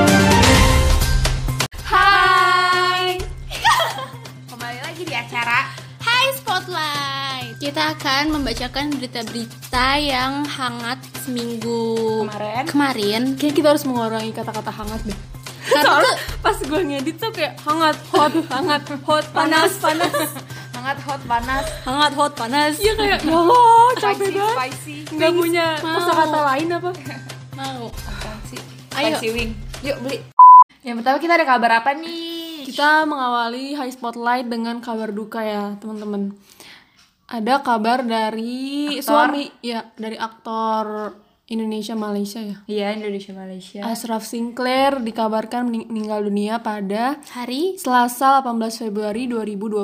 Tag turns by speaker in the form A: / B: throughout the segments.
A: acara
B: Hai Spotlight. Kita akan membacakan berita-berita yang hangat seminggu
A: Kemarin.
B: Kemarin.
C: Kayaknya kita harus mengurangi kata-kata hangat deh
B: Karena
C: Soalnya pas gue ngedit tuh kayak hangat, hot, hangat, hot, panas, panas
A: hangat hot panas
B: hangat hot panas.
C: Iya kayak, ya Allah capek
A: spicy
C: banget
A: spicy
C: Gak punya
B: Mau.
C: kosakata lain apa
B: Mau.
A: Apaan sih?
B: Ayo.
A: spicy wing yuk beli yang pertama kita ada kabar apa nih
C: Kita mengawali High Spotlight dengan kabar duka ya teman-teman Ada kabar dari suami Ya, dari aktor Indonesia Malaysia ya
A: iya Indonesia Malaysia
C: Ashraf Sinclair dikabarkan mening- meninggal dunia pada
B: Hari
C: Selasa 18 Februari 2020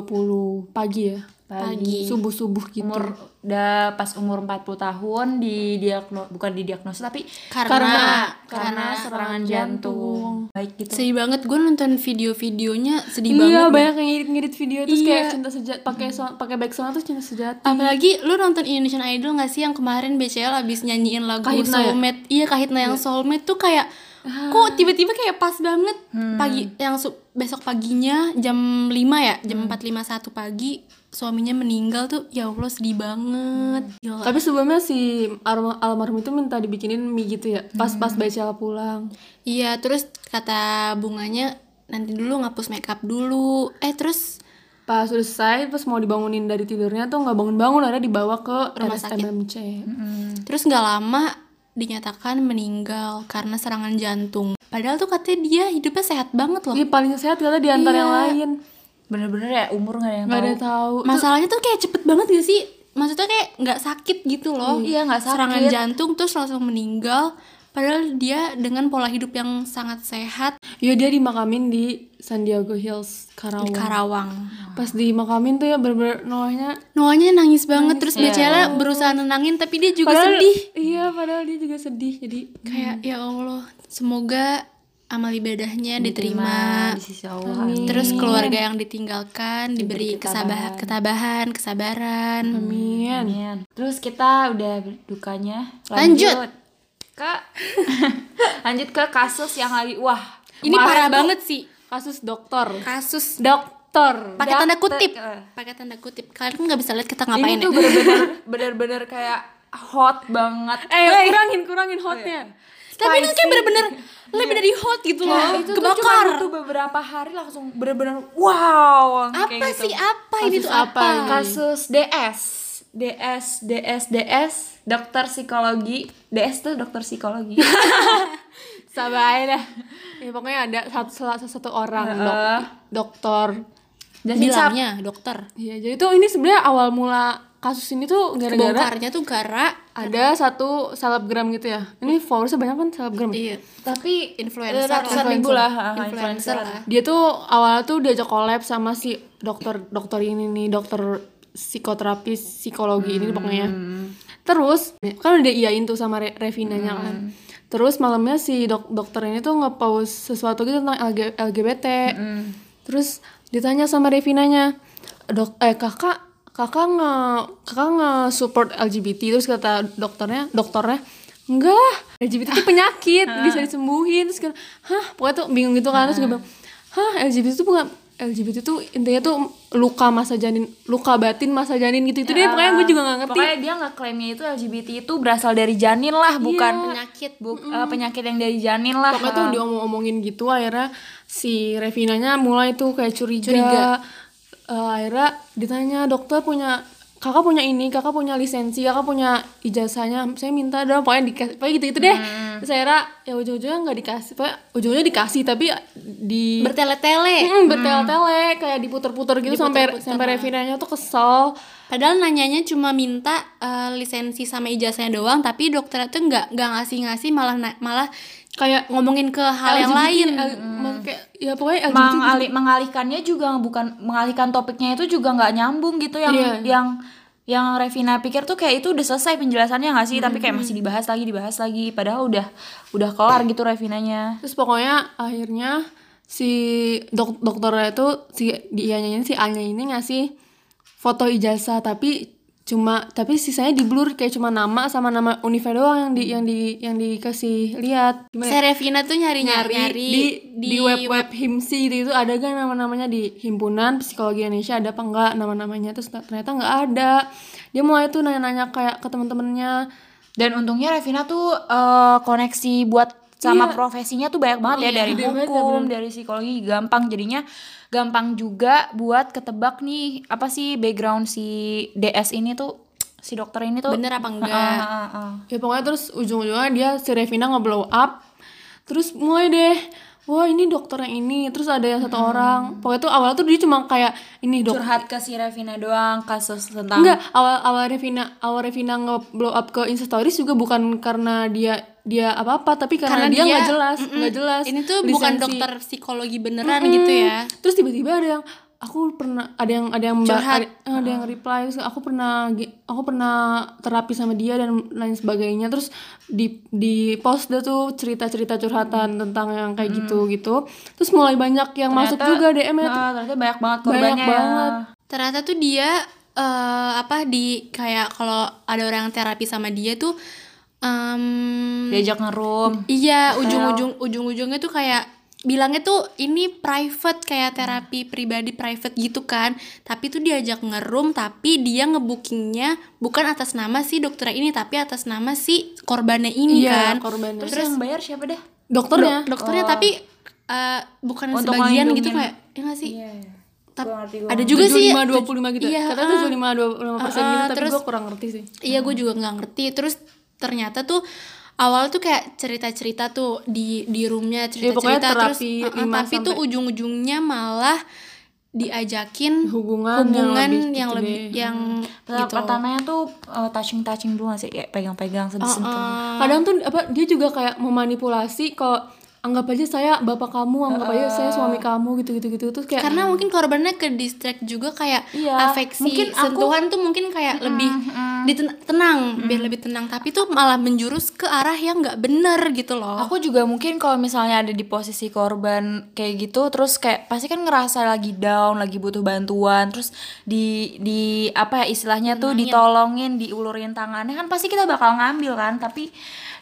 C: pagi ya
B: pagi.
C: subuh-subuh gitu
A: umur udah pas umur 40 tahun di diagno bukan didiagnosa tapi
B: Karena
A: karena serangan jantung. Baik gitu.
B: sedih banget gue nonton video-videonya sedih
C: iya
B: banget.
C: banyak yang ngedit-ngedit video terus
B: Iya.
C: kayak cinta sejati pakai so- pakai backsound terus cinta sejati
B: Apalagi lu nonton Indonesian Idol gak sih yang kemarin BCL abis nyanyiin lagu
C: Kahitna ya? Ah.
B: Soulmate Iya Kahitna yang Soulmate tuh kayak Kok tiba-tiba kayak pas banget
C: Hmm.
B: pagi yang su- besok paginya jam 5 ya jam
C: Hmm.
B: 4.51 pagi suaminya meninggal tuh ya Allah sedih banget Gila.
C: tapi sebelumnya si alm- almarhum itu minta dibikinin mie gitu ya pas-pas
B: Hmm.
C: baca pulang
B: Iya terus kata bunganya nanti dulu ngapus makeup dulu eh terus
C: pas udah selesai terus mau dibangunin dari tidurnya tuh nggak bangun-bangun ada dibawa ke Hmm.
B: Rumah sakit. Hmm.
C: RSMMC
B: Terus nggak lama dinyatakan meninggal karena serangan jantung. Padahal tuh katanya dia hidupnya sehat banget loh.
C: Iya paling sehat kata di antara
B: Iya.
C: yang lain
A: Bener-bener ya umur gak ada yang
C: nggak ada
A: tahu.
C: tahu
B: Masalahnya tuh kayak cepet banget gak sih? Maksudnya kayak nggak sakit gitu loh.
A: Iya, nggak sakit.
B: Serangan jantung terus langsung meninggal. Padahal dia dengan pola hidup yang sangat sehat
C: Iya dia dimakamin di San Diego Hills Karawang
B: di Karawang.
C: pas dimakamin tuh ya bener-bener noahnya
B: Noahnya nangis banget terus Becela berusaha nenangin tapi dia juga sedih.
C: iya padahal dia juga sedih jadi
B: Kayak ya Allah, semoga amal ibadahnya diterima.
A: di sisi Allah.
B: Terus keluarga yang ditinggalkan diberi kesabahan, ketabahan, kesabaran.
C: amin
A: Amin. Terus kita udah dukanya
B: Lanjut.
A: ke lanjut ke kasus yang lagi wah.
B: Ini
A: kemarin
B: parah
A: tuh
B: banget sih
C: kasus dokter
B: kasus
C: dokter
B: pakai tanda kutip,
A: eh.
B: pakai tanda kutip. Kalian kan nggak bisa lihat kita
A: Ini
B: ngapain ya.
A: tuh bener-bener bener-bener kayak hot banget.
C: eh kurangin kurangin hotnya Iya,
B: Tapi ini kayak bener-bener lebih dari hot gitu loh,
C: eh,
A: Nah, itu tuh cuma
B: kebakar.
A: butuh beberapa hari langsung bener-bener wow.
B: Apa
A: kayak gitu.
B: sih ah? apa ini
C: Kasus
B: tuh
C: apa
B: apa?
C: ini?
A: kasus DS DS DS DS dokter psikologi DS tuh dokter psikologi
C: sabar dah ya pokoknya ada satu salah satu orang dok-
A: Heeh.
C: dokter
A: dan bisa
B: Bilangnya dokter.
C: Iya, jadi tuh ini sebenarnya awal mula kasus ini tuh gara-gara
B: Kebongkarnya tuh gara
C: ada satu selebgram gitu ya. Ini followersnya banyak kan selebgram.
B: iya,
A: tapi
B: Influencer
A: ratusan
C: lah.
A: ribu lah ah,
B: influencer lah.
C: Dia tuh awalnya tuh diajak collab sama si dokter dokter ini nih, dokter psikoterapis psikologi ini pokoknya. Terus kan udah iyain tuh sama Re- Revinanya kan. Terus malamnya si dok dokter ini tuh nge-post sesuatu gitu tentang LG LGBT. Terus ditanya sama Revinanya, "Dok eh kakak kakak nge kakak nge support LGBT terus kata dokternya dokternya enggak lah LGBT itu penyakit bisa disembuhin terus kan hah pokoknya tuh bingung gitu kan terus gue bilang hah LGBT itu bukan LGBT itu intinya tuh luka masa janin luka batin masa janin gitu itu deh pokoknya gue juga nggak ngerti
A: pokoknya dia ngeklaimnya itu LGBT itu berasal dari janin
B: Iya.
A: lah bukan
B: penyakit.
A: bu- eh, penyakit yang dari janin lah eh.
C: pokoknya tuh diomong-omongin gitu akhirnya si Revinanya mulai tuh kayak curiga,
B: Curiga.
C: Eh, akhirnya ditanya dokter punya kakak punya ini kakak punya lisensi kakak punya ijazahnya saya minta dong pokoknya dikasih pokoknya gitu gitu deh
B: Hmm.
C: Terus akhirnya ya ujung-ujungnya nggak dikasih pokoknya ujungnya dikasih tapi di
B: Bertele-tele.
C: Mm, bertele-tele kayak diputer-puter gitu sampai sampai Revinanya tuh kesel
B: Padahal nanyanya cuma minta eh, lisensi sama ijazahnya doang, tapi dokternya tuh nggak nggak ngasih-ngasih malah na- malah
C: kayak
B: ngomongin ke hal yang
C: LGBT,
B: lain. Hmm.
C: L- maksudnya kayak ya pokoknya LGBT tuh
A: mengali mengalihkannya juga bukan mengalihkan topiknya itu juga nggak nyambung gitu yang
C: Iya.
A: yang yang Revina pikir tuh kayak itu udah selesai penjelasannya nggak sih tapi kayak masih dibahas lagi dibahas lagi padahal udah udah kelar gitu Revinanya
C: Terus pokoknya akhirnya si dok dokternya itu si dianya ini si Anya ini ngasih foto ijazah tapi cuma tapi sisanya di blur kayak cuma nama sama nama Unifa doang yang di yang di yang dikasih lihat Gimana ya?
B: Saya Revina tuh nyari-nyari
C: di di, web web himsi gitu itu ada gak nama-namanya di himpunan psikologi Indonesia ada apa enggak nama-namanya terus ternyata nggak ada dia mulai tuh nanya-nanya kayak ke teman-temannya
A: Dan untungnya Revina tuh eh, koneksi buat sama profesinya tuh banyak banget ya dari
C: gede Iya. banget,
A: hukum, dari psikologi gampang jadinya gampang juga buat ketebak nih apa sih background si DS ini tuh si dokter ini tuh
B: bener apa
A: Ah,
B: enggak?
A: ah, ah.
C: ya pokoknya terus ujung-ujungnya dia si Revina nge-blow up terus mulai deh wah ini dokter yang ini terus ada yang
B: Hmm.
C: satu orang pokoknya tuh awalnya tuh dia cuma kayak ini dok
A: curhat ke si Revina doang kasus tentang
C: Enggak, awal awal Revina awal Revina nge-blow up ke Instastories juga bukan karena dia dia apa-apa tapi karena, dia nggak jelas,
B: mm-mm,
C: nggak jelas.
B: Ini tuh bukan
C: lisensi.
B: dokter psikologi beneran gitu ya.
C: Terus tiba-tiba ada yang aku pernah ada yang ada yang ba-
B: Curhat.
C: ada, eh, ada yang reply terus aku pernah ge- aku pernah terapi sama dia dan lain sebagainya terus di di post dia tuh cerita-cerita curhatan tentang yang kayak
B: Hmm.
C: gitu gitu terus mulai banyak yang masuk
A: Ternyata-
C: juga DM-nya tuh.
B: nah,
A: Ah, ternyata banyak banget
C: banyak
A: korbannya ya.
C: banget
B: Ternyata tuh dia eh, apa di kayak kalau ada orang yang terapi sama dia tuh em,
A: diajak ngerum
B: Iya, ujung-ujung ujung-ujungnya tuh kayak bilangnya tuh ini private kayak terapi
C: Hmm.
B: pribadi private gitu kan. Tapi tuh diajak ngerum tapi dia ngebukingnya bukan atas nama si dokter ini tapi atas nama si korbannya ini
C: Iya,
B: kan.
C: korbannya.
A: terus,
B: Terus
A: yang bayar siapa deh
C: dokternya
B: dok- dokternya tapi eh, bukan
A: Untuk
B: sebagian
A: ngelindungin.
B: gitu kayak ya nggak sih? Tap-
A: Iya, Gua ngerti, gua
B: ada juga sih
C: 75-25 gitu.
B: Iya,
C: Katanya
B: ah.
C: 75-25 persen
B: Ah,
C: gitu,
B: ah,
C: tapi
B: terus-
C: gue kurang ngerti sih.
B: Iya gue juga nggak ngerti terus ternyata tuh awal tuh kayak cerita-cerita tuh di di roomnya
C: Iya, pokoknya
B: cerita-cerita terus
C: terapi
B: uh-uh,
C: lima
B: tapi tuh ujung-ujungnya malah diajakin
C: Hubungan,
B: hubungan
C: yang
B: yang
C: lebih, gitu Hmm.
B: lebih gitu yang,
A: Pertama-
B: gitu
A: pertamanya tuh eh, touching-touching dulu nggak sih kayak
C: Ah,
A: pegang-pegang sentuh-sentuh
C: kadang tuh apa dia juga kayak memanipulasi kalau anggap aja saya bapak kamu anggap aja saya suami
B: Ah.
C: kamu gitu gitu gitu terus kayak
B: karena mungkin korbannya ke distract juga kayak
A: Iya,
B: afeksi
A: mungkin aku-
B: sentuhan tuh mungkin kayak lebih diten- tenang biar lebih tenang tapi tuh malah menjurus ke arah yang nggak bener gitu loh
A: Aku juga mungkin kalau misalnya ada di posisi korban kayak gitu, terus kayak pasti kan ngerasa lagi down, lagi butuh bantuan, terus di di apa ya istilahnya tuh ditolongin, diulurin tangannya kan pasti kita bakal ngambil kan, tapi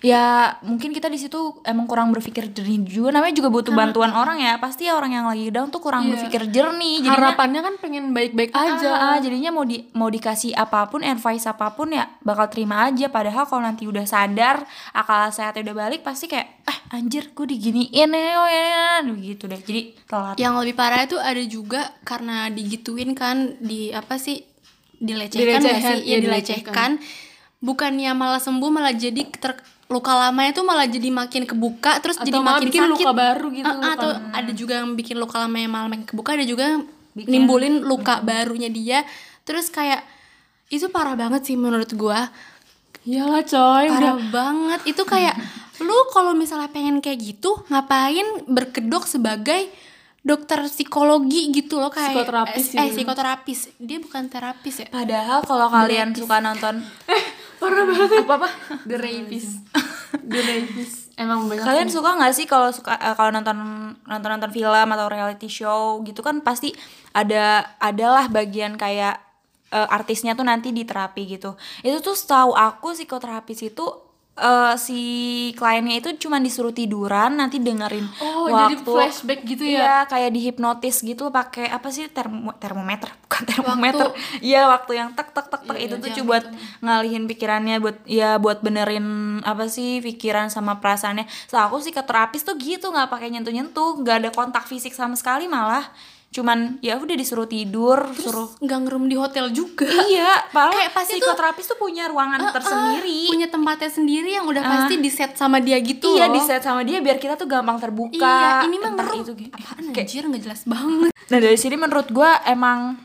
A: ya mungkin kita di situ emang kurang berpikir jernih juga, namanya juga butuh bantuan orang ya, pasti ya orang yang lagi down tuh kurang berpikir jernih, jadinya
C: harapannya kan pengen baik-baik
B: Ah,
A: aja
C: aja
A: ah, jadinya mau di mau dikasih apapun advice apapun ya bakal terima aja padahal kalau nanti udah sadar akal sehatnya udah balik pasti kayak ah anjir gue diginiin ya oh ya begitu deh jadi telat
B: yang lebih parah itu ada juga karena digituin kan di apa sih dilecehkan
C: Dilecehin,
B: nggak sih
C: iya,
B: ya dilecehkan bukannya malah sembuh malah jadi ter luka lamanya tuh malah jadi makin kebuka terus
C: Atau
B: jadi
C: malah
B: makin
C: bikin
B: sakit
C: luka baru gitu,
B: Eh, eh,
C: luka-
B: atau ada juga yang bikin luka lamanya malah makin kebuka ada juga yang nimbulin luka barunya dia terus kayak itu parah banget sih menurut gua
C: iyalah coy udah
B: parah banget itu kayak lu kalau misalnya pengen kayak gitu ngapain berkedok sebagai dokter psikologi gitu loh kayak
C: Psikoterapis
B: eh, eh,
C: gitu.
B: psikoterapis dia bukan terapis ya
A: padahal kalau kalian suka nonton
C: parah banget
A: apa apa
C: the rapist the rapist emang banyak
A: kalian suka nggak sih kalau suka eh, kalau nonton nonton nonton film atau reality show gitu kan pasti ada adalah bagian kayak eh, artisnya tuh nanti di terapi gitu itu tuh setahu aku psikoterapis itu eh, si kliennya itu cuma disuruh tiduran nanti dengerin
C: Oh, jadi
A: waktu
C: flashback gitu ya?
A: Iya, kayak dihipnotis gitu pakai apa sih termo- termometer bukan termometer iya waktu yang tek tek tek tek
B: Iya,
A: itu tuh cuma
B: gitu.
A: buat ngalihin pikirannya buat ya buat benerin apa sih pikiran sama perasaannya setelah aku psikoterapis tuh gitu nggak pakai nyentuh nyentuh nggak ada kontak fisik sama sekali malah cuman ya udah disuruh tidur suruh
B: nggak ngerum di hotel juga
A: iya malah
B: Kayak pasti tuh-
A: psikoterapis tuh, punya ruangan Kan tersendiri
B: punya tempatnya sendiri yang udah pasti di set sama dia gitu
A: iya
B: loh.
A: di set sama dia biar kita tuh gampang terbuka
B: iya ini mah
A: entah
B: ngerum
A: itu
B: apaan anjir nggak jelas banget
A: Nah dari sini menurut gua emang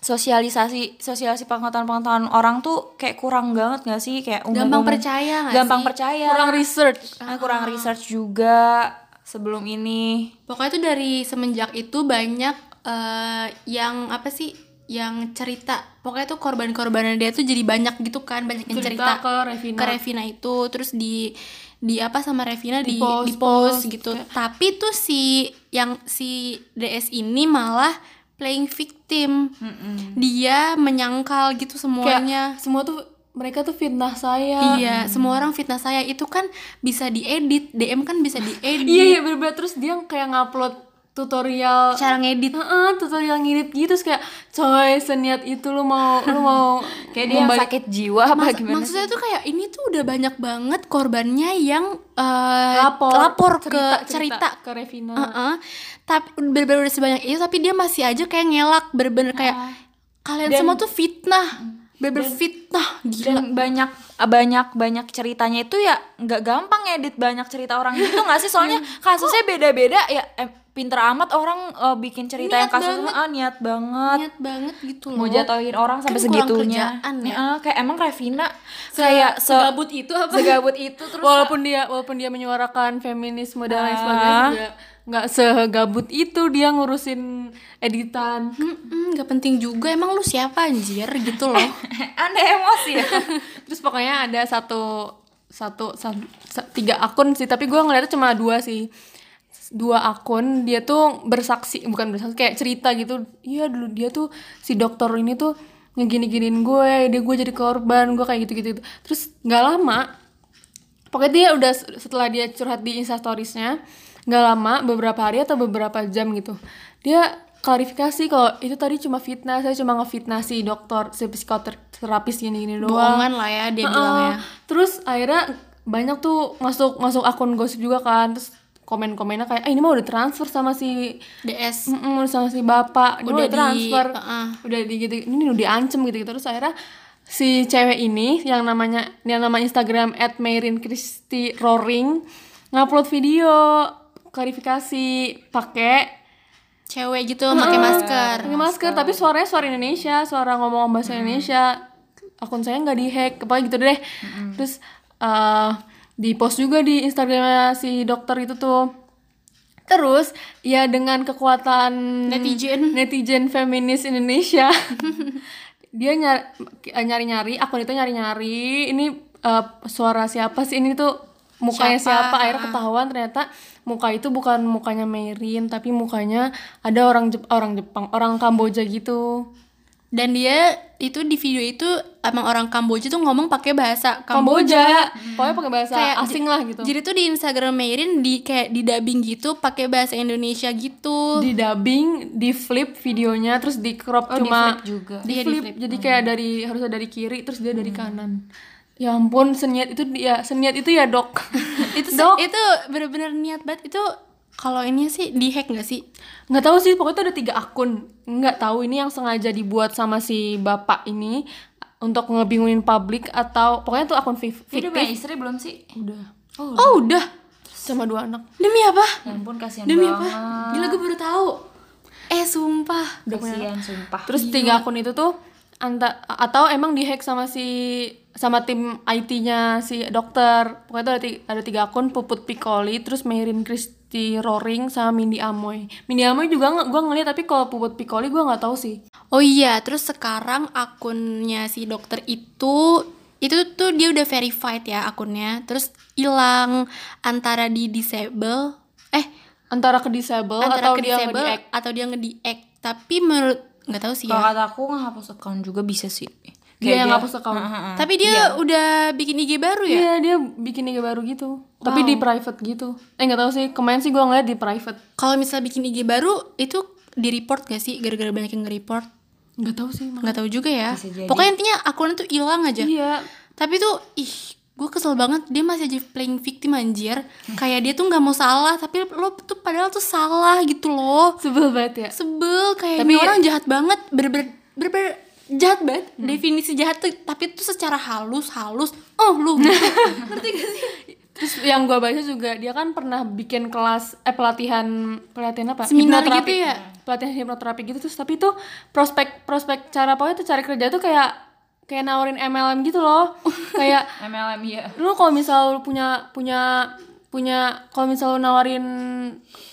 A: sosialisasi sosialisasi pengetahuan pengetahuan orang tuh kayak kurang banget gak sih kayak umum
B: Gampang percaya nggak
A: gampang
B: sih? Ah.
A: percaya
C: kurang research
A: Nah, kurang research juga sebelum ini
B: Pokoknya tuh dari semenjak itu banyak eh, yang apa sih yang cerita pokoknya tuh korban-korbannya dia tuh jadi banyak gitu kan banyak yang cerita,
C: Cerita ke Revina.
B: ke Revina itu terus di di apa sama Revina di di
C: Di-post,
B: post,
C: post,
B: gitu tapi tuh si yang si DS ini malah playing victim dia menyangkal gitu
C: Hmm. Kayak hmm.
B: semuanya
C: semua tuh mereka tuh fitnah saya.
B: iya semua orang fitnah saya itu kan bisa diedit DM kan bisa diedit
C: Iya iya bener-bener terus dia kayak ngupload tutorial
B: cara ngedit
C: Heeh, tutorial ngedit gitu terus kayak coy seniat itu lu mau lu mau
A: Kayak dia yang
C: membalik-
A: sakit jiwa apa
B: Mas-
A: gimana sih?
B: maksudnya tuh kayak ini tuh udah banyak banget korbannya yang eh,
C: lapor
B: lapor ke
C: cerita, Hmm.
B: cerita,
C: ke Revina.
B: Heeh. tapi bener-bener udah sebanyak itu tapi dia masih aja kayak ngelak bener-bener kayak kalian
C: Ah. Dan- Hmm.
B: semua tuh fitnah bener-bener fitnah gila
A: dan banyak ah, banyak banyak ceritanya itu ya nggak gampang edit banyak cerita orang gitu nggak sih soalnya kasusnya beda-beda ya eh, pinter amat orang eh, bikin cerita yang
B: Niat
A: kasusnya ah, niat banget
B: niat banget gitu loh
A: mau jatuhin orang sampai
B: Kan kurang
A: segitunya
B: kerjaan ya.
A: Eh, kayak emang Revina kayak se- segabut,
C: itu apa?
A: itu terus
C: walaupun dia walaupun dia menyuarakan feminisme dan lain sebagainya
A: Ah.
C: juga nggak segabut itu dia ngurusin editan.
B: Mm-mm, nggak penting juga emang lu siapa anjir gitu
C: Eh,
B: loh
A: anda emosi ya
C: Terus pokoknya ada satu satu sa- sa- tiga akun sih, tapi gua ngeliatnya cuma dua sih. Dua akun dia tuh bersaksi, bukan bersaksi kayak cerita gitu. Iya dulu dia tuh si dokter ini tuh ngegini-giniin gue, dia gue jadi korban, gue kayak gitu-gitu. Terus nggak lama pokoknya dia udah setelah dia curhat di instastories-nya nggak lama beberapa hari atau beberapa jam gitu dia klarifikasi kalau itu tadi cuma fitnah saya cuma ngefitnah si dokter si psikoterapis gini gini doang
B: bohongan lah ya dia
C: Heeh.
B: bilangnya
C: terus akhirnya banyak tuh masuk masuk akun gosip juga kan terus komen komennya kayak ah ini mah udah transfer sama si
B: DS
C: Mm-mm, sama si bapak
B: Udah di-
C: udah transfer
B: heeh.
C: udah di gitu ini udah diancem gitu gitu terus akhirnya si cewek ini yang namanya yang nama Instagram @meirin_kristi_roaring ngupload video klarifikasi pakai
B: cewek gitu pakai masker
C: pakai masker Hmm. tapi suaranya suara Indonesia suara ngomong bahasa Indonesia akun saya nggak dihack apa gitu deh terus eh di post juga di Instagramnya si dokter itu tuh terus ya dengan kekuatan
B: netizen
C: netizen feminis Indonesia dia nyari nyari nyari akun itu nyari nyari ini eh, suara siapa sih ini tuh mukanya siapa,
B: Siapa?
C: akhirnya ketahuan ternyata muka itu bukan mukanya Merin tapi mukanya ada orang Jep- orang Jepang orang Kamboja gitu
B: dan dia itu di video itu emang orang Kamboja tuh ngomong pakai bahasa Kamboja Hmm.
C: Kamboja pokoknya pakai bahasa
B: Kayak
C: asing lah gitu
B: jadi tuh di Instagram Merin di kayak di dubbing gitu pakai bahasa Indonesia gitu
C: di dubbing di flip videonya terus di crop
B: Oh,
C: cuma
A: cuma juga
B: Iya,
C: di
B: Hmm. di
C: flip, jadi kayak dari harusnya dari kiri terus dia dari kanan ya ampun seniat itu dia seniat itu ya dok
B: itu se-
C: dok
B: itu bener-bener niat banget itu kalau ini sih di hack nggak sih
C: nggak tahu sih pokoknya tuh ada tiga akun nggak tahu ini yang sengaja dibuat sama si bapak ini untuk ngebingungin publik atau pokoknya tuh akun fif-
A: Dia udah
C: fiktif
A: punya istri belum sih
C: udah
B: oh udah
C: sama dua anak
B: demi apa
A: ya ampun kasihan
B: demi apa
A: banget
B: gila gue baru tahu eh sumpah
A: kasihan sumpah
C: terus tiga akun itu tuh anta atau emang dihack sama si sama tim IT-nya si dokter pokoknya tuh ada tiga, ada tiga akun Puput Pikoli terus Merin Kristi Roring sama Mindy Amoy Mindy Amoy juga nggak gue ngeliat tapi kalau Puput Pikoli gue nggak tahu sih
B: oh iya terus sekarang akunnya si dokter itu itu tuh dia udah verified ya akunnya terus hilang antara di disable eh
C: antara ke disable
B: antara
C: Oh, atau
B: ke
C: dia nge
B: disable
C: di-hack.
B: atau dia nge hack tapi menurut nggak tahu sih
A: kalau
B: ya
A: kata aku ngehapus account juga bisa sih
B: Iya,
A: Kayak
C: dia yang ngapus account
B: tapi dia udah bikin IG baru ya
C: Iya dia bikin IG baru gitu Tapi di private gitu Eh nggak tahu sih Kemarin sih gue ngeliat di private
B: kalau misalnya bikin IG baru itu di report gak sih gara-gara banyak yang nge-report
C: nggak tahu sih emang.
B: nggak tahu juga ya
A: Bisa jadi.
B: pokoknya intinya akunnya tuh hilang aja
C: Nah, Iya
B: tapi tuh ih gue kesel banget dia masih aja playing victim anjir kayak dia tuh nggak mau salah tapi lo tuh padahal tuh salah gitu loh
C: Sebel banget ya
B: sebel kayak
C: Tapi-
B: ini orang jahat banget berber berber jahat banget
C: Hmm.
B: definisi jahat tuh tapi itu secara halus halus oh lu ngerti gak sih
C: Terus yang gue baca juga Dia kan pernah bikin kelas Eh pelatihan Pelatihan apa?
B: Seminar
C: Hipnoterapi.
B: gitu ya?
C: Pelatihan hipnoterapi gitu Terus tapi itu Prospek Prospek cara pokoknya tuh cari kerja tuh kayak Kayak nawarin MLM gitu loh Kayak
A: MLM ya
C: lu kalau misal lu punya punya punya kalau misal lu nawarin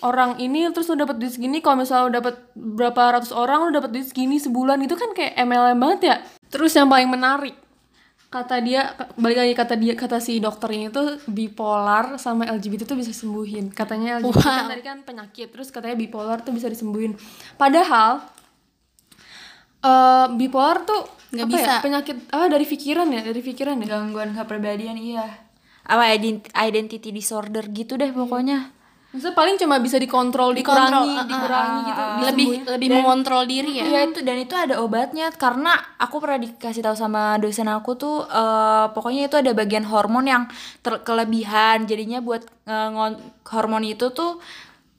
C: orang ini terus lu dapat duit segini kalau misal lu dapat berapa ratus orang lu dapat duit segini sebulan itu kan kayak MLM banget ya terus yang paling menarik kata dia k- balik lagi kata dia kata si dokter ini tuh bipolar sama LGBT tuh bisa sembuhin katanya LGBT kan tadi kan penyakit terus katanya bipolar tuh bisa disembuhin padahal eh, bipolar tuh
B: Nggak
C: apa ya,
B: bisa.
C: penyakit apa dari pikiran ya dari pikiran ya
A: gangguan kepribadian iya apa ident- identity disorder gitu deh pokoknya
C: maksudnya paling cuma bisa dikontrol dikurangi
B: Dikontrol, ah, ah,
C: dikurangi gitu
A: ah, ah.
B: lebih
C: disembuhin.
B: lebih mengontrol diri ya
A: Iya itu dan itu ada obatnya karena aku pernah dikasih tahu sama dosen aku tuh eh, pokoknya itu ada bagian hormon yang ter- kelebihan jadinya buat eh, ngon- hormon itu tuh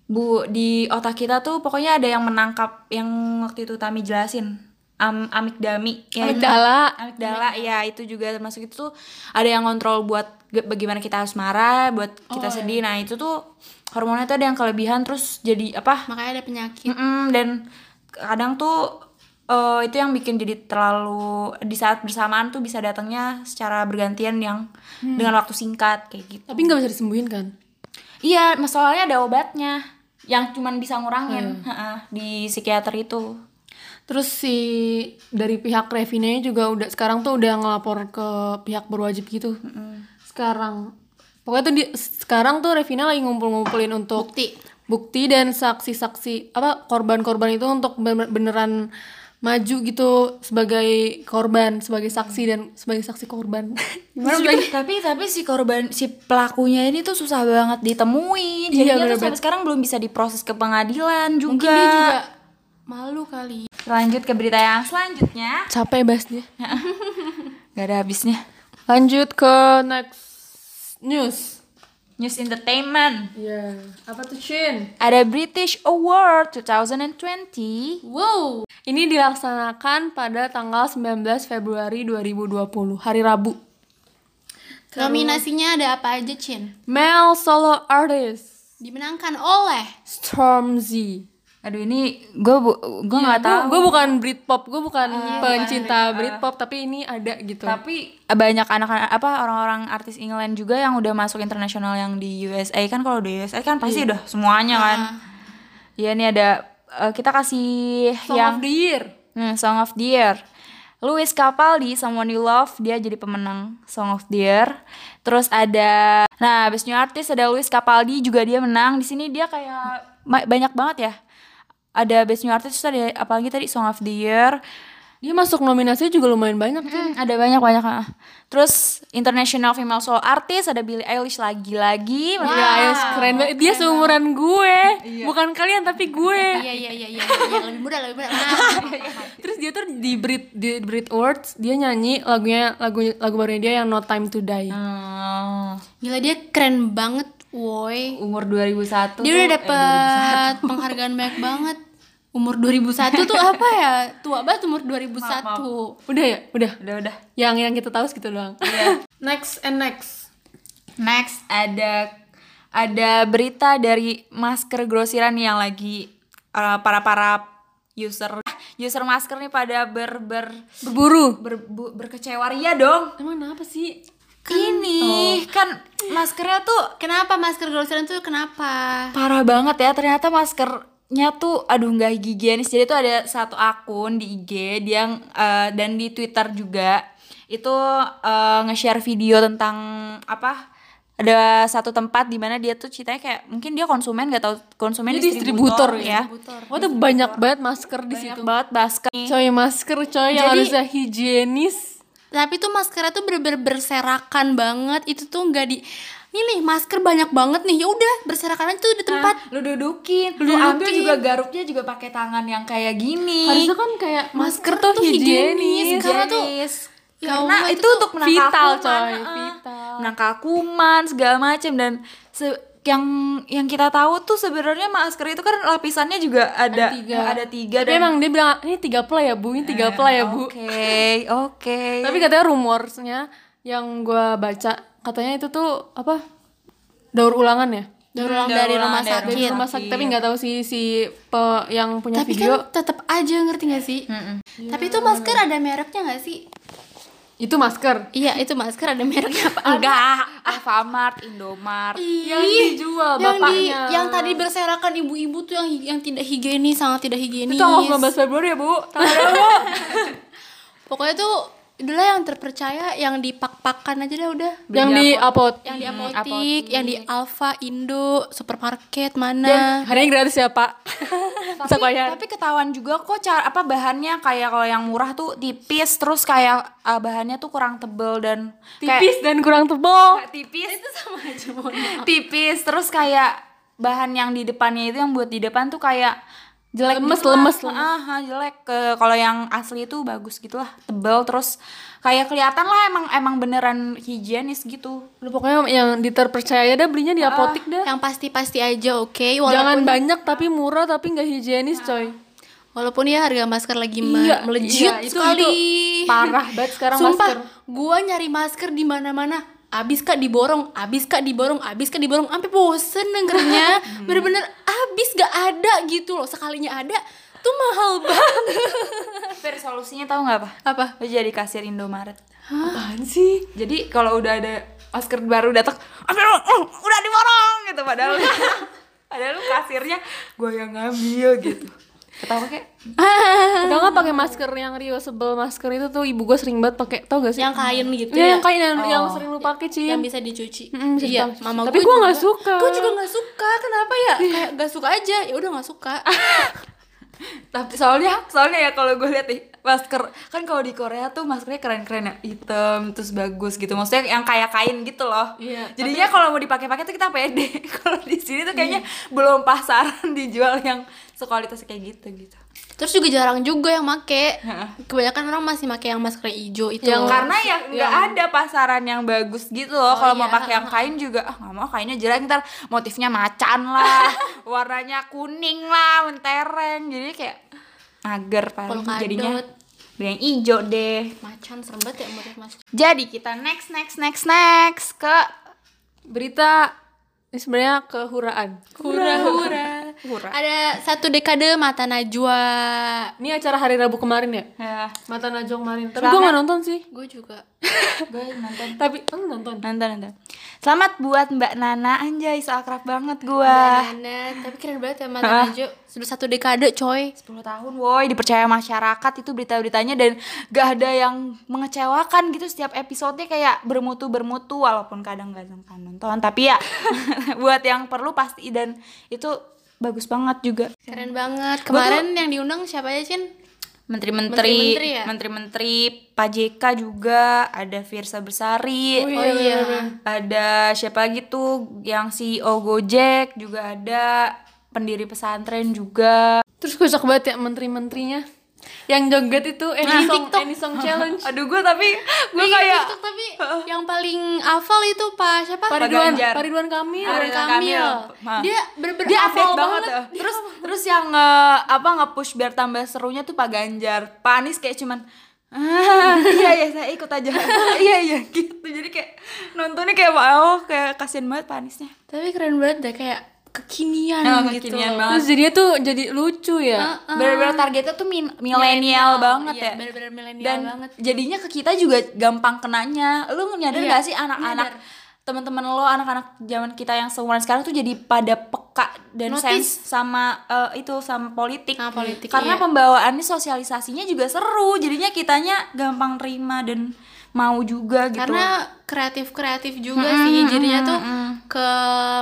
A: bu di otak kita tuh pokoknya ada yang menangkap yang waktu itu Tami jelasin am amigdami ya itu.
C: Amigdala.
A: amigdala ya itu juga termasuk itu tuh ada yang kontrol buat ge- bagaimana kita harus marah buat kita sedih nah itu tuh hormonnya tuh ada yang kelebihan terus jadi apa
B: makanya ada penyakit
A: Mm-mm, dan kadang tuh eh, itu yang bikin jadi terlalu di saat bersamaan tuh bisa datangnya secara bergantian yang dengan waktu singkat kayak gitu.
C: tapi nggak bisa disembuhin kan
A: Iya, masalahnya ada obatnya yang cuman bisa ngurangin heeh, di psikiater itu.
C: Terus si dari pihak Revinanya juga udah sekarang tuh udah ngelapor ke pihak berwajib gitu. Sekarang pokoknya tuh di- sekarang tuh Revina lagi ngumpul-ngumpulin untuk
B: bukti
C: bukti dan saksi-saksi apa korban-korban itu untuk bener- beneran maju gitu sebagai korban, sebagai saksi dan sebagai saksi korban. Gimana
A: Terus
C: bilangnya?
A: juga- tapi tapi si korban si pelakunya ini tuh susah banget ditemui.
C: Iya,
A: Jadinya tuh
C: bener-bener.
A: sampai sekarang belum bisa diproses ke pengadilan juga.
B: mungkin dia juga malu kali
A: Lanjut ke berita yang selanjutnya.
C: Capek bahasnya.
A: Gak ada habisnya.
C: Lanjut ke next news.
A: News Entertainment.
C: Iya. Apa tuh Shin?
A: ada British Award 2020.
B: wow
C: Ini dilaksanakan pada tanggal 19 Februari 2020, hari Rabu.
B: nominasinya ada apa aja Chin
C: Male Solo Artist,
B: dimenangkan oleh
C: Stormzy.
A: Aduh ini gue bu gue nggak tahu.
C: Gue bukan Britpop, gue bukan pencinta Britpop, Ah, iya, tapi ini ada gitu.
A: Tapi banyak anak-anak apa orang-orang artis England juga yang udah masuk internasional yang di USA kan kalau di USA kan pasti udah semuanya kan. Iya nih ada eh, kita kasih
C: Song
A: yang
C: of the Year.
A: Hmm, Song of the Year. Louis Capaldi, Someone You Love, dia jadi pemenang Song of the Year. Terus ada, nah, best new artist ada Louis Capaldi juga dia menang. Di sini dia kayak ma- banyak banget ya. Ada best new artist, terus ada apalagi tadi Song of the Year.
C: Dia masuk nominasinya juga lumayan banyak. Cin.
A: Hmm, ada banyak banyak. ah. Terus International Female Soul Artist ada Billie Eilish lagi-lagi.
C: Gila, Ayos, Ya, iya, keren banget. Iya. Dia seumuran gue. Bukan kalian, tapi gue.
B: iya iya iya iya iya, lebih mudah lebih mudah Nah,
C: Terus dia tuh di Brit di Brit Awards dia nyanyi lagunya lagu lagu barunya dia yang No Time to Die.
A: Hmm,
B: gila dia keren banget woi
A: umur 2001.
B: dia
A: tuh,
B: udah
A: eh,
B: dapet penghargaan banyak banget umur 2001 tuh apa ya tua banget umur 2001
C: Udah ya, udah.
A: udah udah.
C: yang yang kita tahu segitu doang. next and next.
A: Next ada ada berita dari masker grosiran nih yang lagi uh, para para user user masker nih pada ber ber,
C: Berburu.
A: ber- bu- berkecewa ria dong.
C: Emang kenapa sih?
A: Ini kan maskernya tuh
B: kenapa masker grosiran tuh kenapa
A: parah banget ya ternyata maskernya tuh aduh nggak higienis jadi tuh ada satu akun di IG dia ng- eh, dan di Twitter juga itu eh, nge-share video tentang apa ada satu tempat di mana dia tuh ceritanya kayak mungkin dia konsumen nggak tahu konsumen
C: Dia distributor ya.
B: Distributor.
C: Wah tuh banyak banget masker di
A: banyak
C: situ.
A: banget masker
C: Coy masker coy yang
A: Jadi-
C: harusnya higienis.
B: tapi tuh maskernya tuh bener-bener berserakan banget itu tuh nggak di ini nih masker banyak banget nih ya udah berserakan aja tuh di tempat
A: lu dudukin lu, ambil juga garuknya juga pakai tangan yang kayak gini
C: Harusnya kan kayak masker,
B: masker
C: tuh
B: tuh
C: higienis.
B: higienis. karena tuh-
A: Higienis.
B: Ya
A: karena
B: Allah,
A: itu,
B: itu tuh
A: untuk menangkal
C: vital,
A: kuman,
C: coy,
A: eh,
C: vital.
A: menangkal kuman segala macem dan se- yang yang kita tahu tuh sebenarnya masker itu kan lapisannya juga ada ada tiga,
C: Tapi
A: dan
C: emang dia bilang ini tiga play ya bu, ini tiga play ya bu.
A: oke oke
C: Tapi katanya rumorsnya yang gua baca katanya itu tuh apa daur ulangan ya.
B: daur ulang
A: Daur
B: dari
A: ulang
B: rumah
A: dari
B: sakit
C: Dari rumah sakit tapi nggak tahu si si pe- yang
B: Iya,
C: punya
B: tapi
C: video
B: kan tetap aja ngerti gak sih tapi itu masker ada mereknya gak sih
C: itu masker.
B: iya itu masker ada mereknya apa
A: enggak Alfamart Indomart
B: Iya,
C: yang dijual
B: yang di
C: bapaknya.
B: yang tadi berserakan ibu-ibu tuh yang yang tidak higienis sangat tidak higienis
C: itu tanggal 19 Februari ya bu. Tanggal berapa?
B: pokoknya tuh udahlah yang terpercaya yang dipak-pakan aja deh udah
C: yang di upload
B: yang di apotik, yang di Alfa, Indo, supermarket mana?
C: harganya gratis ya pak bisa
A: tapi,
C: bayar
A: tapi ketahuan juga kok cara apa bahannya kayak kalau yang murah tuh tipis terus kayak uh, bahannya tuh kurang tebel dan kayak-
C: tipis dan kurang tebal
A: kayak tipis itu sama aja tipis terus kayak bahan yang di depannya itu yang buat di depan tuh kayak jelek
C: Lemes,
A: gitu lah.
C: lemes,
A: Ah, ah, jelek ke kalau yang asli itu bagus gitu lah tebel terus kayak kelihatan lah emang emang beneran higienis gitu
C: lu pokoknya yang diterpercaya dah belinya di apotik dah
B: Yang pasti-pasti aja, oke.
C: jangan
B: Walaupun
C: banyak tapi murah tapi nggak higienis coy
B: walaupun ya harga masker lagi me-
C: Iya,
B: melejit
C: iya, itu-
B: sekali.
C: itu parah banget sekarang
B: Sumpah,
C: masker.
B: gua nyari masker di mana-mana. Abis kak diborong, abis kak diborong, abis kak diborong, sampai bosen dengernya. Bener-bener abis gak ada gitu loh. Sekalinya ada tuh mahal banget.
A: Fir, solusinya tahu nggak apa
B: Apa?
A: Lo jadi kasir Indomaret
C: apaan sih
A: jadi kalau udah ada masker baru datang "Aduh, uh, udah diborong gitu padahal padahal kasirnya gue yang ngambil gitu ketawa kayak
C: Udah nggak pakai masker yang Rio sebel masker itu tuh ibu gue sering banget pakai tau gak sih?
B: Yang kain gitu
C: Ya,
B: ya.
C: yang kain yang, yang sering lu pakai Cin.
B: yang bisa dicuci.
C: Mm-mm, bisa
B: iya,
C: dicuci.
B: mama
C: Tapi gua nggak suka.
B: Gue juga nggak suka. Kenapa ya? Kayak nggak suka aja. Ya udah nggak suka.
A: tapi soalnya soalnya ya kalau gue lihat nih masker kan kalau di Korea tuh maskernya keren-keren ya hitam terus bagus gitu maksudnya yang kayak kain gitu loh
C: Iya,
A: jadinya kalau mau dipakai-pakai tuh kita pede kalau di sini tuh kayaknya belum pasaran dijual yang sekualitas kayak gitu gitu
B: Terus juga jarang juga yang make.
A: Heeh.
B: Kebanyakan orang masih make yang masker hijau itu. loh.
C: Yang
A: karena ya nggak ada pasaran yang bagus gitu loh kalau mau pakai yang kain juga ah nggak mau kainnya jelek ntar motifnya macan lah warnanya kuning lah mentereng jadi kayak agar paling
B: Polkadot.
A: jadinya beli yang ijo deh
B: macan serem banget ya motif masker.
A: jadi kita next next next next ke
C: Berita ini sebenarnya kehuraan.
B: Hura hura.
A: Hura.
B: Ada satu dekade mata Najwa.
C: Ini acara hari Rabu kemarin ya?
A: ya
C: Mata Najwa kemarin. Tapi gue gak nonton sih.
B: Gue juga.
A: gue nonton
C: Tapi kan nonton.
A: nonton nonton selamat buat mbak Nana anjay so akrab banget gua
B: Nana, tapi keren banget ya mata Najwa. Sudah satu dekade coy.
A: 10 tahun woi dipercaya masyarakat itu berita-beritanya dan gak ada yang mengecewakan gitu setiap episodenya kayak bermutu-bermutu walaupun kadang gak sangka nonton tapi ya buat yang perlu pasti dan itu bagus banget juga
B: Keren banget. Kemarin yang diundang siapa aja, Cin?
A: menteri-menteri
B: Menteri-menteri ya?
A: menteri-menteri Pak JK juga ada Firsa Bersari
B: Oh iya.
A: ada siapa lagi tuh yang CEO Gojek juga ada pendiri pesantren juga
C: Terus kocak banget ya menteri-menterinya. Yang joget itu any song, any song challenge.
A: aduh gue tapi gue kayak
B: TikTok tapi yang paling hafal itu gitu. Ah. Pak siapa?
A: Pak
C: Pariduan,
A: Ganjar.
C: Pariduan kami.
A: Ah, Ridwan Kamil. Ma.
B: Dia bener-bener
A: dia
B: hafal
A: update banget, ya. terus terus yang nge- apa nge-push biar tambah serunya tuh Pak Ganjar Pak Anies kayak cuman "Ah, iya iya saya ikut aja iya iya gitu jadi kayak nontonnya kayak wow kayak kasihan banget Pak Aniesnya
B: Tapi keren banget deh kayak kekinian
A: Oh,
B: gitu. loh.
A: kekinian banget.
C: Terus jadinya tuh jadi
A: Ah.
C: lucu ya.
A: bener-bener targetnya tuh min- milenial banget
B: Iya,
A: ya
B: bener-bener milenial
A: dan
B: banget. Iya,
A: jadinya ke kita juga gampang kenanya lu nyadar nggak sih anak-anak teman-teman lo anak-anak zaman kita yang seumuran sekarang tuh jadi pada peka dan
B: Notice.
A: sense sama eh, itu sama politik,
B: Sama politik, iya.
A: karena pembawaannya sosialisasinya juga seru jadinya kitanya gampang terima dan mau juga gitu
B: Karena kreatif-kreatif juga sih jadinya tuh ke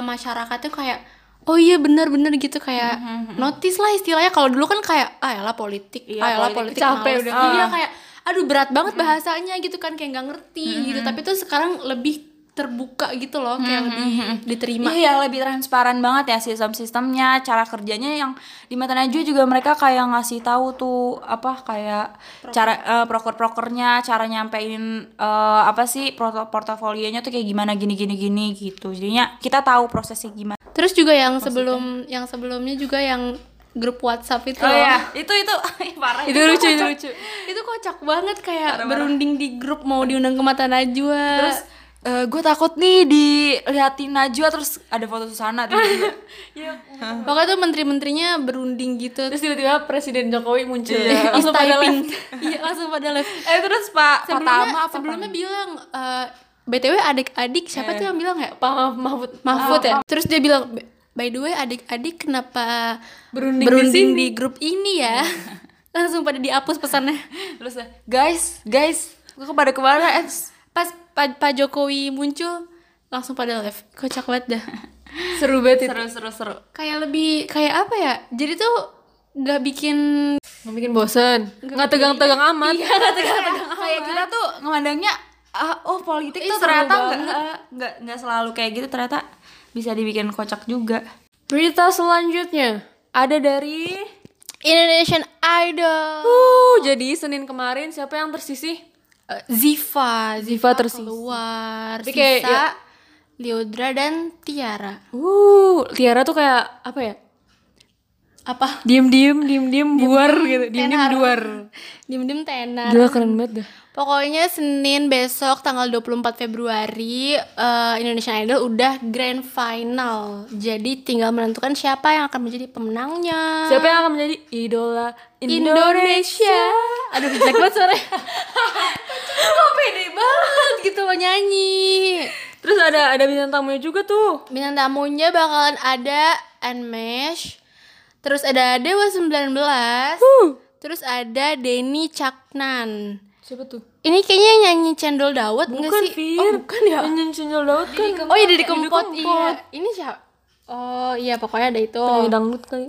B: masyarakat tuh kayak Oh iya bener-bener gitu kayak notice lah istilahnya kalau dulu kan kayak ah elah politik, ah elah politik,
C: Iya, politik. Capek
B: males."
C: udah. Ah.
B: Iya kayak aduh berat banget bahasanya gitu kan kayak nggak ngerti gitu tapi tuh sekarang lebih terbuka gitu loh kayak lebih diterima.
A: Iya, lebih transparan banget ya sistem-sistemnya, cara kerjanya yang di Mata Najwa juga mereka kayak ngasih tahu tuh apa kayak cara eh, proker-prokernya, cara nyampein eh, apa sih porto- portofolionya tuh kayak gimana gini gini gini gitu. Jadinya kita tahu prosesnya gimana.
B: Terus juga yang sebelum yang sebelumnya juga yang grup WhatsApp itu loh.
A: itu itu parah.
C: Oh, iya. Itu lucu, itu lucu.
B: Itu kocak banget kayak berunding di grup mau diundang ke Mata Najwa.
A: Terus gue takut nih diliatin Najwa terus ada foto Susana tuh.
B: Pokoknya tuh menteri-menterinya berunding gitu.
C: Terus tiba-tiba Presiden Jokowi muncul.
B: Iya.
C: Langsung pada
B: Typing.
C: live.
B: Iya, langsung pada live.
A: eh terus Pak
B: Sebelumnya,
A: Patama apa
B: sebelumnya bilang eh, BTW adik-adik siapa
C: Eh.
B: tuh yang bilang ya?
C: Pak Mah- Mahfud.
B: Mahfud
C: Oh,
B: ya. Terus dia bilang "B- By the way adik-adik kenapa
C: Berunding di sini." Iya.
B: di grup ini ya? langsung pada dihapus pesannya.
A: terus guys guys Gue kepada kemana? Eh,
B: Pas Pak Pak Jokowi muncul langsung pada live. Kocak banget dah.
C: seru banget itu
A: seru seru seru.
B: kayak lebih kayak apa ya? Jadi tuh nggak bikin
C: nggak bikin bosen nggak tegang-tegang amat
A: Kayak kita tuh ngemandangnya ah, oh politik
B: Ih,
A: tuh
B: seru
A: ternyata
B: banget.
A: nggak eh, nggak nggak selalu kayak gitu ternyata bisa dibikin kocak juga.
C: berita selanjutnya ada dari
B: Indonesian Idol.
C: uh jadi Senin kemarin siapa yang tersisih
B: Eh, Ziva,
C: Ziva tersisa.
B: keluar.
C: Tapi kayak,
B: sisa
C: ya-
B: Liodra dan Tiara.
C: uh Tiara tuh kayak apa ya
B: Apa?
C: diem-diem diem-diem buar gitu diem-diem
B: Tenar.
C: buar
B: Diem-diem tenar.
C: gila keren banget dah
B: Pokoknya Senin besok tanggal 24 Februari eh, Indonesian Idol udah grand final. Jadi tinggal menentukan siapa yang akan menjadi pemenangnya.
C: siapa yang akan menjadi idola
B: Indonesia.
C: Indonesia
B: Aduh, jelek banget suaranya. Kok pede banget gitu loh nyanyi.
C: terus ada ada bintang tamunya juga tuh
B: Bintang tamunya bakalan ada Anmesh. Terus ada Dewa 19.
C: Huh.
B: Terus ada Denny Caknan.
C: siapa tuh
B: Ini kayaknya yang nyanyi Cendol Dawet nggak
C: bukan
B: sih?
C: Fir
B: Oh, bukan ya?
C: Nyanyiin Cendol Daud kan
B: Oh iya dari Kempot,
C: Didi
B: iya. Ini siapa? Oh iya pokoknya ada itu.
C: Penyanyi dangdut kali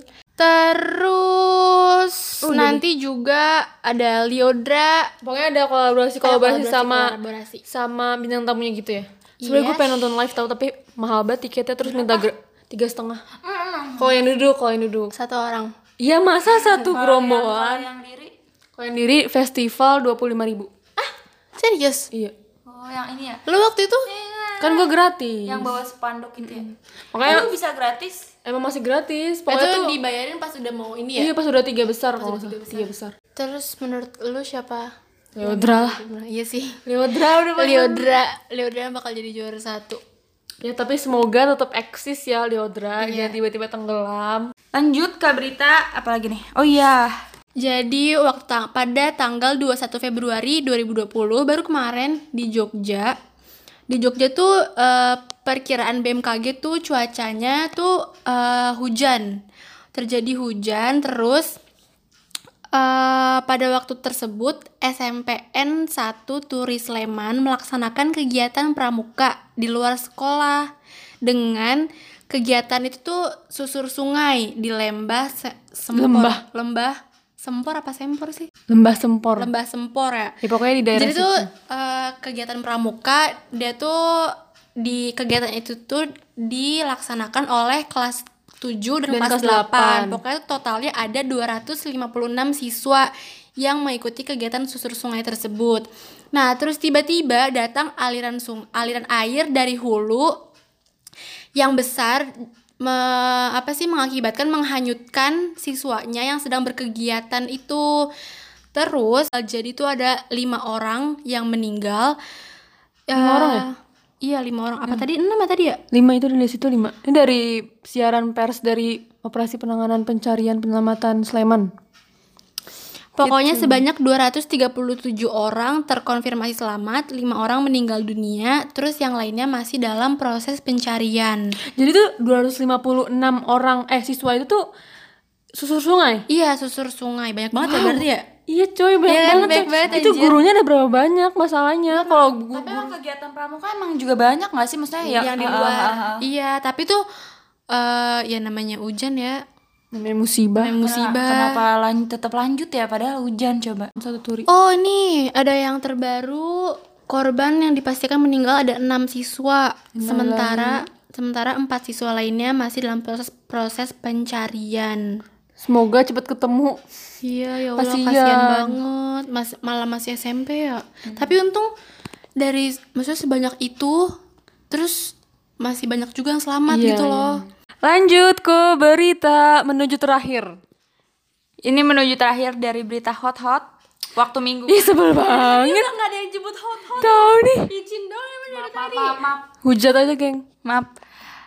B: Terus nanti juga ada Liodra.
C: pokoknya ada kolaborasi kolaborasi
B: Eh,
C: sama
B: kolaborasi.
C: sama bintang tamunya gitu ya sebenarnya gue pengen nonton live tau tapi mahal banget tiketnya terus minta gra- tiga setengah kalau yang duduk kalau yang duduk
B: Satu orang.
C: Iya masa satu gerombolan
A: Oh, Yang diri
C: kalau yang diri festival dua puluh lima ribu
B: Serius?
C: iya
A: oh yang ini ya.
B: Lu waktu itu?
C: kan gue gratis
A: Yang bawa spanduk gitu ya.
C: makanya
A: Itu bisa gratis.
C: emang masih
B: itu
C: gratis pokoknya tuh
B: dibayarin pas udah mau ini ya.
C: iya pas udah tiga besar kalau nggak salah tiga besar
B: Terus menurut lu siapa?
C: Leodra lah
B: Iya sih.
C: Leodra udah pasti.
B: Liodra, Liodra bakal jadi juara satu.
C: ya tapi semoga tetap eksis ya Leodra jangan tiba-tiba tenggelam
A: Lanjut ke berita apa lagi nih? Oh iya.
B: Jadi waktu tang- pada tanggal 21 Februari 2020 baru kemarin di Jogja. Di Jogja tuh eh, perkiraan BMKG tuh cuacanya tuh eh, hujan. Terjadi hujan terus eh, pada waktu tersebut SMPN 1 Turi Sleman melaksanakan kegiatan pramuka di luar sekolah dengan kegiatan itu tuh susur sungai di lembah Se- sempor
C: Lembah.
B: lembah sempor apa sempor sih
C: lembah sempor
B: lembah sempor ya
C: ya pokoknya di daerah
B: jadi tuh eh, kegiatan pramuka dia tuh di kegiatan itu tuh dilaksanakan oleh kelas 7 dan,
C: Dan
B: kelas
C: kelas
B: 8.
C: 8.
B: Pokoknya totalnya ada 256 siswa yang mengikuti kegiatan susur sungai tersebut. Nah, terus tiba-tiba datang aliran sung aliran air dari hulu yang besar me- apa sih mengakibatkan menghanyutkan siswanya yang sedang berkegiatan itu terus eh, jadi tuh ada lima orang yang meninggal lima
C: orang ya? Hmm.
B: iya lima orang apa tadi enam ya tadi ya
C: lima itu dari situ lima ini dari siaran pers dari operasi penanganan pencarian penyelamatan Sleman
B: Pokoknya sebanyak 237 orang terkonfirmasi selamat, lima orang meninggal dunia, terus yang lainnya masih dalam proses pencarian.
C: jadi tuh 256 orang eh siswa itu tuh susur sungai
B: Iya, susur sungai banyak banget ya berarti ya?
C: iya coy banyak
B: Iya kan,
C: banget, Iya.
B: banyak
C: coy.
B: banget,
C: itu
B: anjir.
C: gurunya ada berapa banyak masalahnya kalau gu-
A: Tapi emang kegiatan pramuka emang juga banyak nggak sih maksudnya ya,
B: yang di
A: ah, ah,
B: luar.
A: ah, ah.
B: Iya, tapi tuh eh ya namanya hujan ya,
C: namanya musibah
B: namanya musibah.
A: Kenapa lan- tetap lanjut ya padahal hujan coba.
C: satu turi
B: Oh, nih ada yang terbaru korban yang dipastikan meninggal ada enam siswa. Sementara sementara empat siswa lainnya masih dalam proses proses pencarian.
C: semoga cepet ketemu
B: Iya, ya Allah
C: Kasian.
B: kasihan, banget. Mas, malah masih SMP ya.
A: Hmm.
B: Tapi untung dari maksudnya sebanyak itu terus masih banyak juga yang selamat
C: Iya,
B: gitu loh.
C: lanjut ke berita menuju terakhir
A: Ini menuju terakhir dari berita hot hot waktu minggu.
C: ih sebel banget
A: nggak ada yang jemput hot hot.
C: tau nih
B: Izin dong emang dari
A: Maaf maaf maaf.
C: hujat aja geng
A: maaf.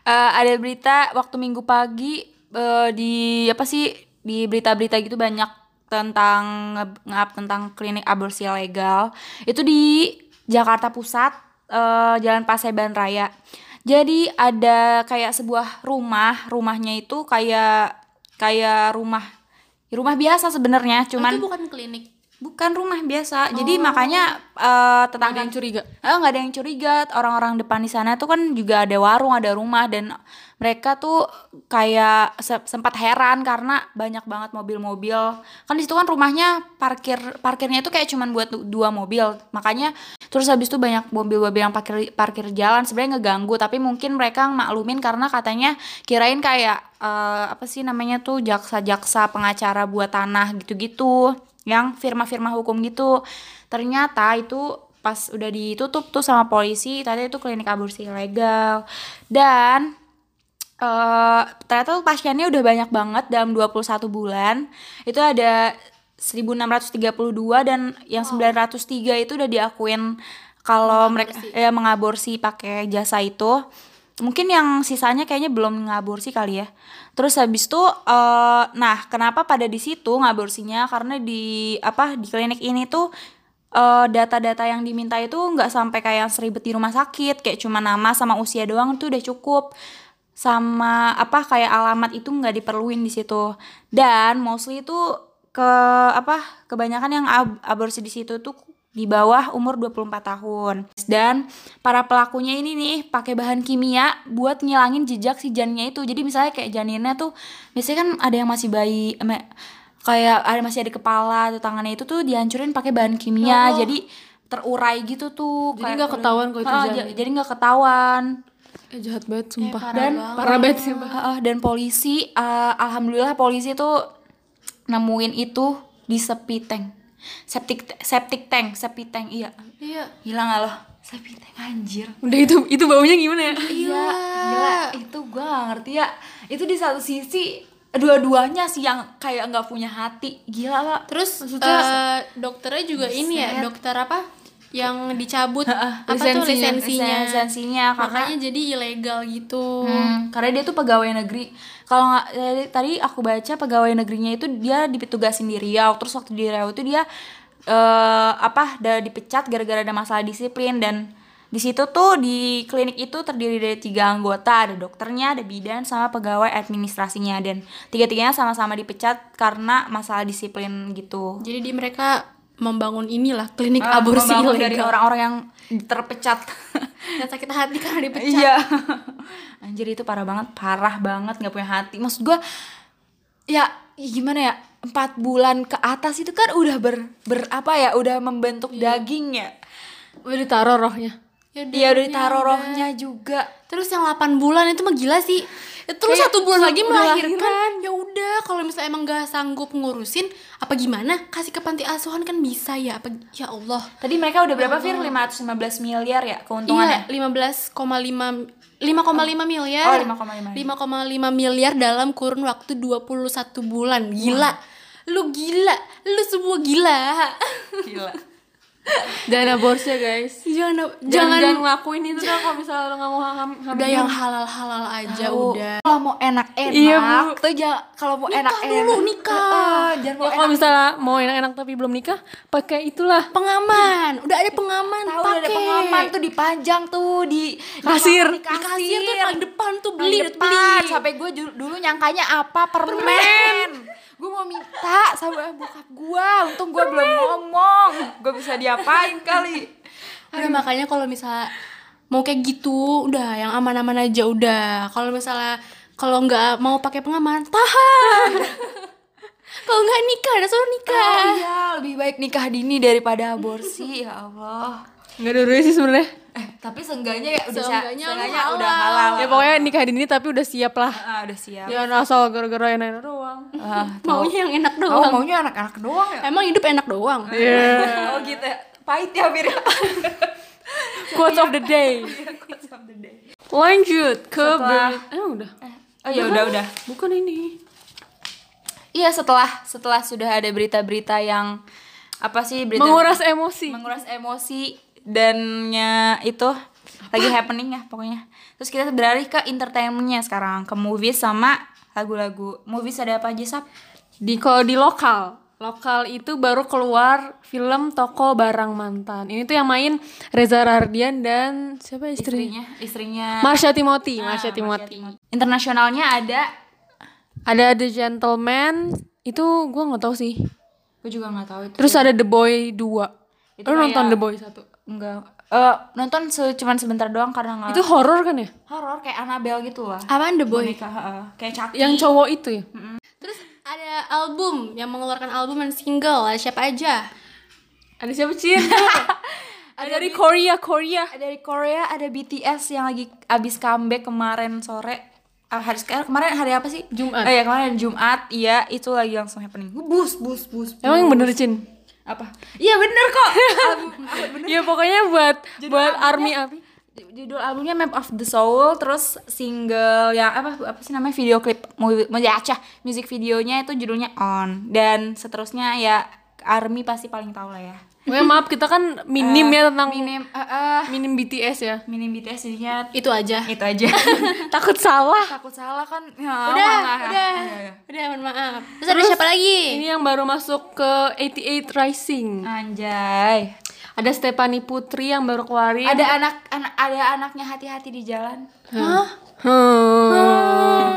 A: Eh, ada berita waktu minggu pagi eh, di apa sih di berita-berita gitu banyak tentang nge- ngap tentang klinik aborsi legal itu di Jakarta Pusat eh, Jalan Paseban Raya. Jadi ada kayak sebuah rumah, rumahnya itu kayak kayak rumah rumah biasa sebenarnya,
B: Oh, Itu
A: cuman
B: bukan klinik
A: Bukan rumah biasa. Jadi makanya eh, tetangga
C: Oh. yang curiga
A: Eh, nggak ada yang curiga orang-orang depan di sana tuh kan juga ada warung ada rumah dan mereka tuh kayak se- sempat heran karena banyak banget mobil-mobil kan di situ kan rumahnya parkir parkirnya itu kayak cuman buat du- dua mobil makanya terus habis itu banyak mobil-mobil yang parkir parkir jalan sebenarnya ngeganggu tapi mungkin mereka maklumin karena katanya kirain kayak eh, apa sih namanya tuh jaksa-jaksa pengacara buat tanah gitu-gitu yang firma-firma hukum gitu ternyata itu pas udah ditutup tuh sama polisi ternyata itu klinik aborsi ilegal dan eh ternyata tuh pasiennya udah banyak banget dalam 21 bulan itu ada 1632 dan yang 903 itu udah diakuin kalau mereka ya mengaborsi pakai jasa itu mungkin yang sisanya kayaknya belum ngaborsi kali ya terus habis itu eh nah kenapa pada di situ ngaborsinya karena di apa di klinik ini tuh eh, data-data yang diminta itu nggak sampai kayak seribet di rumah sakit kayak cuma nama sama usia doang itu udah cukup sama apa kayak alamat itu nggak diperluin di situ dan mostly itu ke apa kebanyakan yang ab- aborsi di situ tuh di bawah umur 24 tahun dan para pelakunya ini nih pakai bahan kimia buat ngilangin jejak si janinnya itu jadi misalnya kayak janinnya tuh misalnya kan ada yang masih bayi em- kayak ada masih ada kepala atau tangannya itu tuh dihancurin pakai bahan kimia jadi terurai gitu tuh
C: Oh. Jadi nggak ketahuan kalau itu
A: Ah,
C: janin.
A: ja- jadi nggak ketahuan
C: eh jahat banget sumpah
B: parah
C: dan
B: banget.
C: parah banget sih
A: Ah, ah, dan polisi ah, alhamdulillah polisi tuh nemuin itu di sepi tank septic septic tank sepi tank iya
B: Iya.
A: gila nggak loh sepi tank anjir
C: udah itu itu baunya gimana ya
A: Iya, gila. Itu gue gak ngerti ya. Itu di satu sisi dua-duanya sih yang kayak nggak punya hati. Gila lah.
B: Terus eh, dokternya juga ini ya, dokter apa? Yang dicabut apa tuh
C: lisensinya.
B: lisensinya.
A: Lisensinya, karena-
B: Makanya jadi ilegal gitu.
A: Hmm, karena dia tuh pegawai negeri. Kalau nggak eh, tadi aku baca pegawai negerinya itu dia ditugasin di Riau. Terus waktu di Riau itu dia eh apa? Ada dipecat gara-gara ada masalah disiplin dan di situ tuh di klinik itu terdiri dari tiga anggota, ada dokternya, ada bidan, sama pegawai administrasinya dan tiga-tiganya sama-sama dipecat karena masalah disiplin gitu.
B: Jadi di mereka membangun inilah klinik
A: Ah,
B: aborsi
A: membangun
B: ilegal.
A: dari orang-orang yang terpecat.
B: Dan sakit hati karena dipecat.
A: Iya. Anjir itu parah banget, parah banget nggak punya hati. Maksud gua ya gimana ya? empat bulan ke atas itu kan udah ber, ber- apa ya? Udah membentuk daging ya.
C: udah ditaruh rohnya
B: Ya
A: Iya.
B: udah,
A: Dia udah
B: ini
A: ditaruh
B: udah.
A: rohnya juga.
B: Terus yang 8 bulan itu mah gila sih. Ya, Terus
A: Kayak
B: satu bulan lagi
A: udah
B: melahirkan. Ya udah, kalau misalnya emang gak sanggup ngurusin apa gimana, kasih ke panti asuhan kan bisa ya. Apa ya Allah.
A: Tadi mereka udah berapa Fir? 515 miliar ya keuntungannya.
B: Iya, 15,5 5,5 miliar.
A: Oh,
B: 5,5
A: 5,5.
B: miliar dalam kurun waktu 21 bulan. Gila. Lu gila. Lu semua gila.
A: Gila.
C: dan aborsi ya, guys
B: jangan
C: jangan, ya.
B: jangan,
C: jangan ngakuin itu tuh kalau misalnya lo nggak mau ham- hamil
B: udah yang halal-halal aja Ya
A: Oh,
B: udah.
A: Kalau mau enak-enak
C: Iya, Bu.
A: tuh jangan kalau mau enak-enak
B: dulu, nikah.
A: Heeh, jangan mau
C: Ya, kalau misalnya mau enak-enak tapi belum nikah pakai itulah
B: Pengaman. Udah ada pengaman.
A: tahu udah ada
B: pakai.
A: pengaman tuh dipajang tuh di di-
C: Kasir.
B: Di
A: di
B: kasir tuh paling depan tuh
A: Paling
B: beli
A: depan.
B: beli.
A: sampai gue dulu nyangkanya apa permen, gue mau minta sama bokap gue untung gue belum ngomong gue bisa diapain kali
B: Udah makanya kalau misalnya mau kayak gitu, udah yang aman-aman aja udah. Kalau misalnya kalau nggak mau pakai pengaman, tahan. kalau nggak nikah, ada suruh nikah.
A: oh, iya lebih baik nikah dini daripada aborsi ya allah
C: nggak ada sih sebenarnya
A: eh tapi seenggaknya ya udah
B: Seenggaknya lu
A: seenggaknya
B: halal.
A: udah halal
C: ya pokoknya nikah dini tapi udah siap lah
A: Ah, udah siap
C: jangan asal gara-gara yang enak doang
A: Ah,
B: Maunya yang enak
A: oh
B: doang.
A: maunya anak-anak doang ya
B: Emang hidup enak doang.
A: oh gitu ya. pahit ya Fir
C: quote of the day lanjut ke
A: Setelah-
C: ber- eh udah
A: oh ya udah udah
C: bukan ini
A: Iya setelah setelah sudah ada berita-berita yang apa sih berita
C: menguras emosi
A: menguras emosi dannya itu lagi happening ya pokoknya. Terus kita beralih ke entertainmentnya sekarang ke movies sama lagu-lagu. Movies ada apa aja sab?
C: di kalau di lokal lokal itu baru keluar film toko barang mantan ini tuh yang main Reza Rahardian dan siapa istrinya,
A: Istrinya, istrinya.
C: Marsha Timothy Ah,
A: Marsha
C: Marsha Timothy
A: Timothy. Internasionalnya ada
C: ada The Gentleman itu gua nggak tahu sih
A: Gue juga nggak tahu itu.
C: Terus ada The Boy 2.
A: Itu
C: Lu nonton
A: kayak-
C: The Boy 1.
A: Enggak. Eh nonton se- cuman sebentar doang karena nggak
C: Itu horor kan ya?
A: horor kayak Annabelle gitu lah.
B: Apaan The Boy?
A: Boneka, heeh. Kayak Chucky.
C: Yang cowok itu ya?
B: Terus ada album yang mengeluarkan album dan single, ada siapa aja?
C: Ada siapa Cin? ada dari Korea, Korea.
A: dari Korea ada BTS yang lagi abis comeback kemarin sore Ah, hari sekarang kemarin hari apa sih
C: Jumat.
A: eh, ya kemarin Jumat iya itu lagi langsung happening bus bus bus, bus.
C: Emang yang bener Cin?
A: apa iya bener kok Album-
C: Ya pokoknya buat buat army army
A: judul albumnya Map of the Soul terus single yang apa apa sih namanya video klip mau acah music videonya itu judulnya On dan seterusnya ya Army pasti paling tahu lah ya
C: Pokoknya maaf kita kan minim ya tentang minim,
A: minim eh, eh,
C: BTS ya.
A: minim BTS jadinya
B: Itu aja.
A: itu aja
C: Takut salah.
A: takut salah kan ya,
B: udah,
A: malah.
B: udah.
A: Iya, iya.
B: Udah, mohon maaf. Terus, ada siapa lagi?
C: Ini yang baru masuk ke 88 Rising.
A: Anjay.
C: Ada Stephanie Putri yang baru keluarin.
A: Ada anak, anak ada anaknya hati-hati di jalan.
B: Hah?
C: Hmm.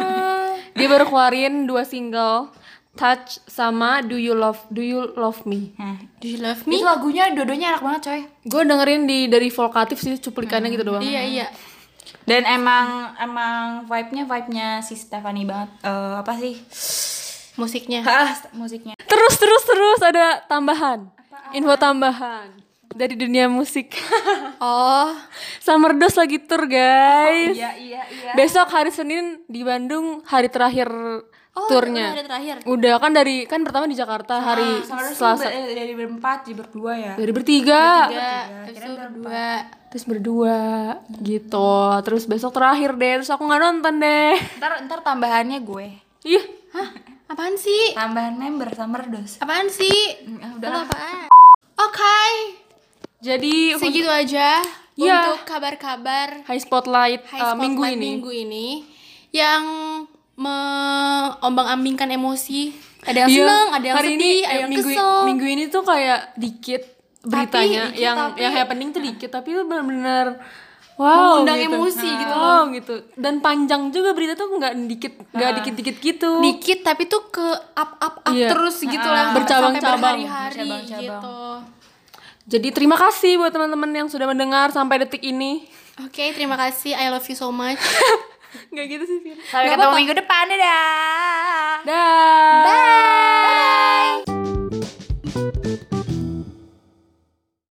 C: Dia baru keluarin dua single, Touch sama Do You Love Do You Love Me.
A: Nah,
B: Do you love me?
A: itu lagunya dodonya enak banget, coy.
C: Gue dengerin di dari Volkatif sih cuplikannya gitu doang.
B: Iya, iya.
A: Dan emang emang vibe-nya vibe-nya si Stephanie banget. Eh, apa sih?
B: Musiknya.
A: Ah, musiknya.
C: Terus terus terus ada tambahan. Info tambahan dari dunia musik.
B: Oh,
C: Summer Dose lagi tour, guys.
A: Iya, iya, iya.
C: Besok hari Senin di Bandung hari terakhir
B: oh
C: turnya.
B: udah ada terakhir. Ah.
C: Udah kan dari kan pertama di Jakarta hari
A: Sebenarnya sih
C: Selasa.
A: ber- eh, dari berempat jadi berdua ya.
C: Dari bertiga.
B: Tiga, terus itu berdua.
C: terus berdua gitu terus besok terakhir deh terus aku nggak nonton deh
A: Ntar ntar tambahannya gue.
C: iya
B: Hah? Apaan sih?
A: Tambahan member Summer Dose.
B: Apaan sih?
A: Ah,
B: Lu
A: udahlah.
B: apaan? Oke,
C: jadi
B: segitu aja
C: Iya.
B: untuk kabar-kabar
C: high spotlight,
B: high
C: uh,
B: spotlight
C: minggu ini
B: minggu ini yang mengombang-ambingkan emosi. Ada yang
C: Iya,
B: seneng, ada yang
C: hari
B: sedih,
C: ini, eh,
B: ada yang
C: minggu,
B: kesel.
C: minggu ini tuh kayak dikit beritanya
B: dikit,
C: yang
B: tapi- Nah.
C: yang happening tuh dikit tapi itu benar-benar wow
B: Mengundang
C: gitu.
B: emosi gitu
C: wow gitu dan panjang juga berita tuh nggak dikit nggak
B: Ah.
C: dikit-dikit gitu
B: Dikit tapi tuh ke up up up
C: Iya.
B: terus gitu lah.
C: Bercabang-cabang.
B: Sampai berhari-hari
A: Bercabang-cabang.
B: gitu.
C: jadi terima kasih buat teman-teman yang sudah mendengar sampai detik ini
B: Oke, terima kasih. I love you so much.
C: nggak gitu sih Fir.
A: Sampai ketemu minggu depan, dadah.
C: dah
B: Bye.